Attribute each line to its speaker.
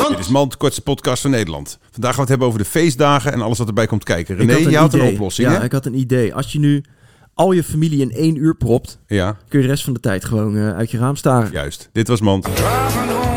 Speaker 1: Mand.
Speaker 2: Dit is Mand, kortste podcast van Nederland. Vandaag gaan we het hebben over de feestdagen en alles wat erbij komt kijken.
Speaker 1: Ik
Speaker 2: René,
Speaker 1: had
Speaker 2: je
Speaker 1: een
Speaker 2: had een
Speaker 1: idee.
Speaker 2: oplossing,
Speaker 1: Ja,
Speaker 2: hè?
Speaker 1: ik had een idee. Als je nu al je familie in één uur propt,
Speaker 2: Ja,
Speaker 1: kun je de rest van de tijd gewoon eh, uit je raam staren.
Speaker 2: juist. Dit was Mand.
Speaker 3: Driving home